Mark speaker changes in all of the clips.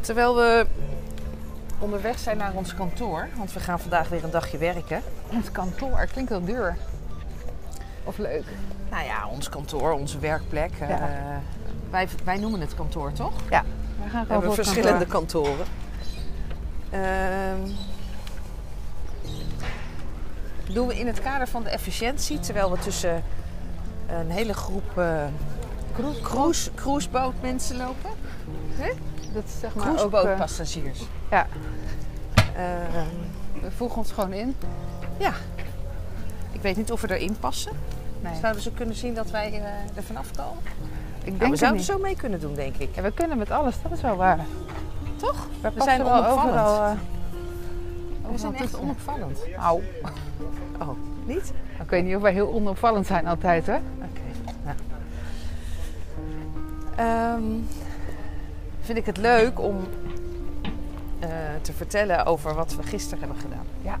Speaker 1: Terwijl we onderweg zijn naar ons kantoor, want we gaan vandaag weer een dagje werken.
Speaker 2: Ons kantoor klinkt wel duur. Of leuk.
Speaker 1: Nou ja, ons kantoor, onze werkplek. eh,
Speaker 2: Ja.
Speaker 1: wij, wij noemen het kantoor, toch?
Speaker 2: We gaan
Speaker 1: We hebben
Speaker 2: voor het
Speaker 1: verschillende
Speaker 2: kantoor.
Speaker 1: kantoren. Ehm, doen we in het kader van de efficiëntie, terwijl we tussen een hele groep eh cruise, cruise, cruisebootmensen lopen.
Speaker 2: Dat is zeg maar ook, eh,
Speaker 1: Cruisebootpassagiers.
Speaker 2: ja.
Speaker 1: Ehm,
Speaker 2: we voegen ons gewoon in.
Speaker 1: ik weet niet of we erin passen.
Speaker 2: Nee,
Speaker 1: Zouden ze kunnen zien dat wij eh, er vanaf komen?
Speaker 2: ik
Speaker 1: Nou,
Speaker 2: denk
Speaker 1: we
Speaker 2: het
Speaker 1: zouden
Speaker 2: niet.
Speaker 1: zo mee kunnen doen, denk ik.
Speaker 2: Ja, we kunnen met alles, dat is wel waar.
Speaker 1: Toch?
Speaker 2: We,
Speaker 1: zijn
Speaker 2: passen wel
Speaker 1: onopvallend.
Speaker 2: overal. eh,
Speaker 1: We
Speaker 2: overal
Speaker 1: zijn echt
Speaker 2: tussen.
Speaker 1: onopvallend.
Speaker 2: Au.
Speaker 1: Oh, niet?
Speaker 2: Ik weet niet of wij heel onopvallend zijn altijd hoor.
Speaker 1: Oké. nou. Ehm, vind ik het leuk om eh, te vertellen over wat we gisteren hebben gedaan.
Speaker 2: Ja,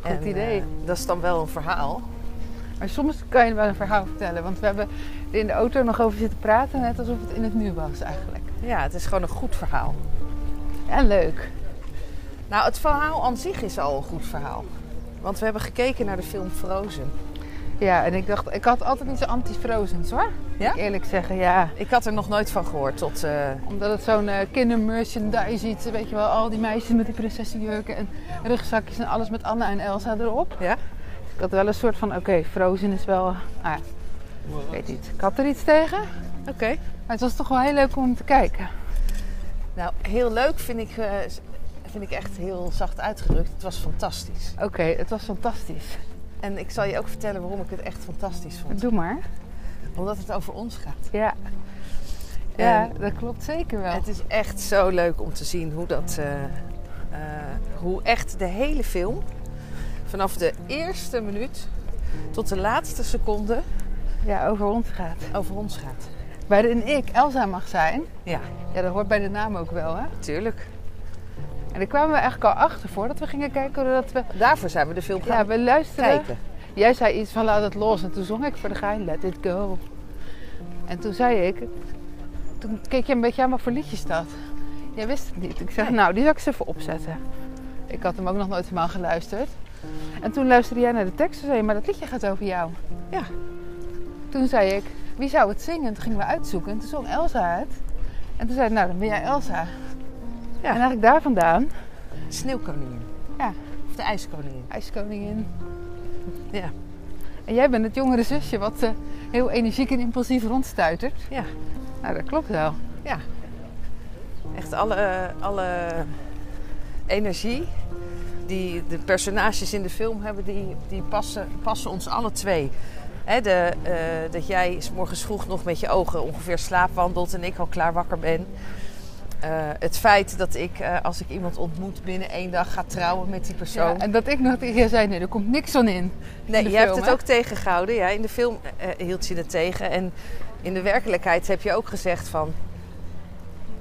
Speaker 2: goed
Speaker 1: En,
Speaker 2: idee.
Speaker 1: eh, dat is dan wel een verhaal.
Speaker 2: Maar soms kan je wel een verhaal vertellen. Want we hebben er in de auto nog over zitten praten, net alsof het in het nu was eigenlijk.
Speaker 1: Ja, het is gewoon een goed verhaal.
Speaker 2: En leuk.
Speaker 1: Nou, het verhaal aan zich is al een goed verhaal. Want we hebben gekeken naar de film Frozen.
Speaker 2: Ja, en ik dacht, ik had altijd iets anti-frozens hoor.
Speaker 1: Ja?
Speaker 2: Moet ik Eerlijk zeggen, ja.
Speaker 1: Ik had er nog nooit van gehoord tot... eh,
Speaker 2: Omdat het zo'n eh, kindermerchandise iets, weet je wel, al die meisjes met die prinsessenjurken en rugzakjes en alles met Anna en Elsa erop.
Speaker 1: Ja.
Speaker 2: Ik had wel een soort van, oké, Frozen is wel, ah, ik weet niet, ik had er iets tegen. Maar
Speaker 1: Oké.
Speaker 2: het was toch wel heel leuk om te kijken.
Speaker 1: Nou, heel leuk vind ik, eh, vind ik echt heel zacht uitgedrukt. Het was fantastisch.
Speaker 2: Oké, het was fantastisch.
Speaker 1: En ik zal je ook vertellen waarom ik het echt fantastisch vond.
Speaker 2: Doe maar.
Speaker 1: Omdat het over ons gaat.
Speaker 2: Ja. Ja,
Speaker 1: En
Speaker 2: dat klopt zeker wel.
Speaker 1: het is echt zo leuk om te zien hoe dat... eh, eh, hoe echt de hele film... vanaf de eerste minuut tot de laatste seconde
Speaker 2: Ja, over ons gaat.
Speaker 1: over ons gaat.
Speaker 2: Waarin ik Elsa mag zijn.
Speaker 1: Ja,
Speaker 2: Ja, dat hoort bij de naam ook wel, hè.
Speaker 1: tuurlijk.
Speaker 2: En daar kwamen we eigenlijk al achter voordat we gingen kijken. Doordat we,
Speaker 1: Daarvoor zijn we de film gaan
Speaker 2: ja, we luisteren.
Speaker 1: kijken.
Speaker 2: Jij zei iets van laat het los. En toen zong ik voor de gein let it go. En toen zei ik... Toen keek je een beetje aan wat voor liedje dat. Jij wist het niet. Ik zeg,
Speaker 1: Nee.
Speaker 2: nou, die zal ik eens even opzetten. Ik had hem ook nog nooit helemaal geluisterd. En toen luisterde jij naar de tekst en zei je, maar dat liedje gaat over jou.
Speaker 1: Ja.
Speaker 2: Toen zei ik, wie zou het zingen? En toen gingen we uitzoeken. En toen zong Elsa het. En toen zei ik, nou, dan ben jij Elsa. En eigenlijk daar vandaan,
Speaker 1: Sneeuwkoningin.
Speaker 2: Ja.
Speaker 1: Of de ijskoningin.
Speaker 2: IJskoningin.
Speaker 1: Ja.
Speaker 2: En jij bent het jongere zusje wat eh, heel energiek en impulsief rondstuitert.
Speaker 1: Ja.
Speaker 2: Nou, dat klopt wel.
Speaker 1: Echt alle, alle energie die de personages in de film hebben, die, die passen, passen ons alle twee. Hè, de, eh, dat jij 's morgens vroeg nog met je ogen ongeveer slaapwandelt en ik al klaar wakker ben. Eh, het feit dat ik, eh, als ik iemand ontmoet, binnen één dag ga trouwen met die persoon.
Speaker 2: Ja, en dat ik nog tegen je zei, nee, er komt niks van in.
Speaker 1: Nee,
Speaker 2: de
Speaker 1: je hebt
Speaker 2: film,
Speaker 1: het
Speaker 2: hè?
Speaker 1: ook tegengehouden. Ja, in de film eh, hield je het tegen. En in de werkelijkheid heb je ook gezegd van...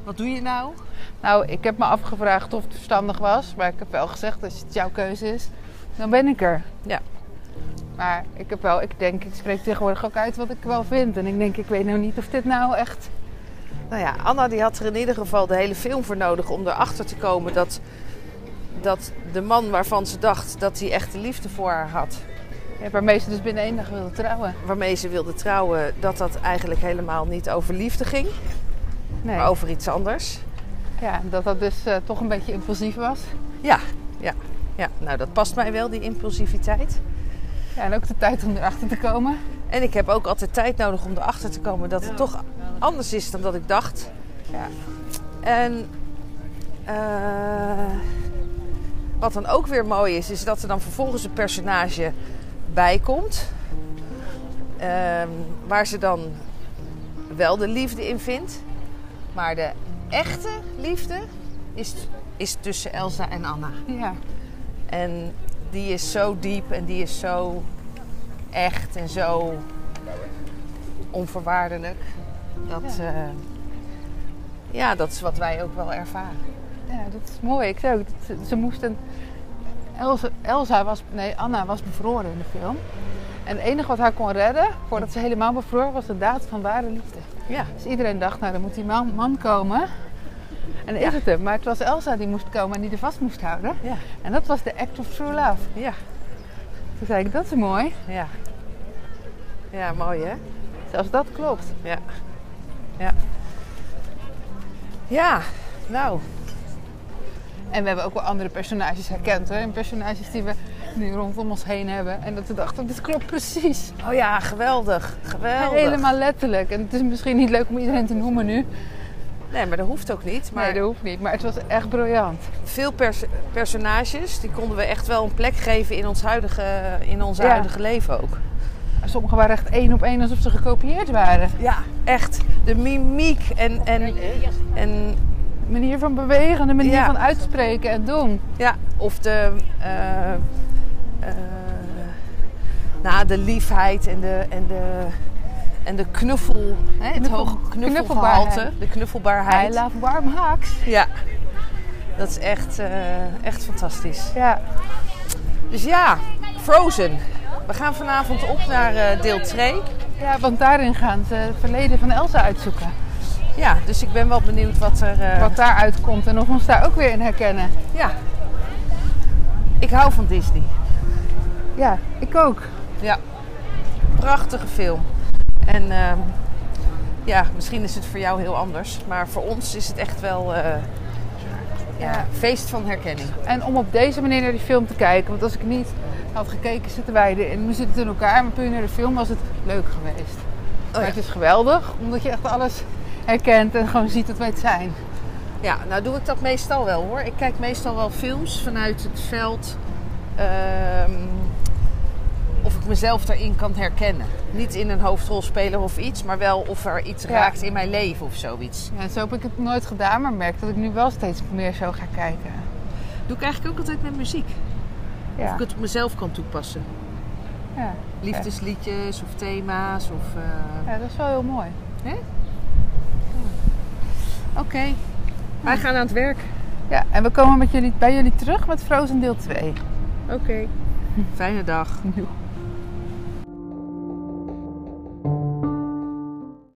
Speaker 1: Wat doe je nou?
Speaker 2: Nou, ik heb me afgevraagd of het verstandig was. Maar ik heb wel gezegd, als het jouw keuze is, dan ben ik er.
Speaker 1: Ja.
Speaker 2: Maar ik heb wel, ik denk, ik spreek tegenwoordig ook uit wat ik wel vind. En ik denk, ik weet nou niet of dit nou echt...
Speaker 1: Nou ja, Anna die had er in ieder geval de hele film voor nodig om erachter te komen dat, dat de man waarvan ze dacht dat hij echt de liefde voor haar had,
Speaker 2: Ja, waarmee ze dus binnen één dag wilde trouwen.
Speaker 1: waarmee ze wilde trouwen, dat dat eigenlijk helemaal niet over liefde ging,
Speaker 2: Nee.
Speaker 1: maar over iets anders.
Speaker 2: Ja, dat dat dus eh, toch een beetje impulsief was.
Speaker 1: Ja, ja, ja, nou dat past mij wel, die impulsiviteit.
Speaker 2: Ja, en ook de tijd om erachter te komen.
Speaker 1: En ik heb ook altijd tijd nodig om erachter te komen dat het toch anders is dan dat ik dacht.
Speaker 2: Ja.
Speaker 1: En eh, wat dan ook weer mooi is, is dat er dan vervolgens een personage bij komt. ehm, waar ze dan wel de liefde in vindt. Maar de echte liefde is, is tussen Elsa en Anna.
Speaker 2: Ja.
Speaker 1: En die is zo diep en die is zo echt en zo onvoorwaardelijk. Dat,
Speaker 2: Ja.
Speaker 1: ja. ja, dat is wat wij ook wel ervaren.
Speaker 2: Ja, dat is mooi. Ik zei ook, dat ze, ze moesten... Elsa, Elsa was... Nee, Anna was bevroren in de film. En het enige wat haar kon redden, voordat ze helemaal bevroren, was de daad van ware liefde.
Speaker 1: Ja.
Speaker 2: Dus iedereen dacht, nou, dan moet die man, man komen. En is het hem. Maar het was Elsa die moest komen en die er vast moest houden.
Speaker 1: Ja.
Speaker 2: En dat was de act of true love.
Speaker 1: Ja,
Speaker 2: Toen zei ik, dat is mooi.
Speaker 1: ja. Ja, mooi hè?
Speaker 2: Zelfs dat klopt.
Speaker 1: Ja. Ja. Ja, nou.
Speaker 2: En we hebben ook wel andere personages herkend hoor. En personages die we nu rondom ons heen hebben. En dat we dachten, dit klopt precies.
Speaker 1: Oh ja, geweldig. Geweldig.
Speaker 2: Helemaal letterlijk. En het is misschien niet leuk om iedereen te noemen nu.
Speaker 1: Nee, maar dat hoeft ook niet. Maar
Speaker 2: Maar... Nee, dat hoeft niet. Maar het was echt briljant.
Speaker 1: veel pers- personages, die konden we echt wel een plek geven in ons huidige, in ons
Speaker 2: Ja.
Speaker 1: huidige leven ook.
Speaker 2: Sommigen waren echt één op één alsof ze gekopieerd waren.
Speaker 1: Ja, echt. De mimiek en, en, en
Speaker 2: De manier van bewegen, de manier
Speaker 1: Ja.
Speaker 2: van uitspreken en doen.
Speaker 1: ja, of de, eh, eh, nou, de liefheid en de, en de, en de knuffel, hè, het
Speaker 2: Knuffel-
Speaker 1: hoge knuffelgehalte,
Speaker 2: knuffelbaarheid.
Speaker 1: de
Speaker 2: I
Speaker 1: knuffelbaarheid.
Speaker 2: love warm haks.
Speaker 1: Ja, dat is echt, eh, echt fantastisch.
Speaker 2: Ja.
Speaker 1: Dus ja, Frozen. We gaan vanavond op naar eh, deel 2.
Speaker 2: ja, want daarin gaan ze het verleden van Elsa uitzoeken.
Speaker 1: Ja, dus ik ben wel benieuwd wat er. eh,
Speaker 2: Wat daaruit komt en of we ons daar ook weer in herkennen.
Speaker 1: Ja. Ik hou van Disney.
Speaker 2: Ja, ik ook.
Speaker 1: Ja. Prachtige film. En ehm, ja, misschien is het voor jou heel anders. Maar voor ons is het echt wel. eh, ja, feest van herkenning.
Speaker 2: En om op deze manier naar die film te kijken. Want als ik niet had gekeken, zitten wij erin. We zitten in elkaar. Maar puur naar de film was het leuk geweest. maar
Speaker 1: ja.
Speaker 2: het is geweldig, omdat je echt alles herkent en gewoon ziet dat wij het zijn.
Speaker 1: Ja, nou doe ik dat meestal wel hoor. Ik kijk meestal wel films vanuit het veld. ehm, of ik mezelf daarin kan herkennen. Niet in een hoofdrol spelen of iets, maar wel of er iets
Speaker 2: Ja.
Speaker 1: raakt in mijn leven of zoiets.
Speaker 2: Ja, zo heb ik het nooit gedaan, maar merk dat ik nu wel steeds meer zo ga kijken.
Speaker 1: Doe ik eigenlijk ook altijd met muziek. Of
Speaker 2: Ja.
Speaker 1: ik het op mezelf kan toepassen.
Speaker 2: Ja.
Speaker 1: Liefdesliedjes of thema's of... eh,
Speaker 2: ja, dat is wel heel mooi.
Speaker 1: Oké. Wij gaan aan het werk.
Speaker 2: Ja, en we komen met jullie, bij jullie terug met Frozen deel 2.
Speaker 1: Oké. Fijne dag.
Speaker 2: Joe.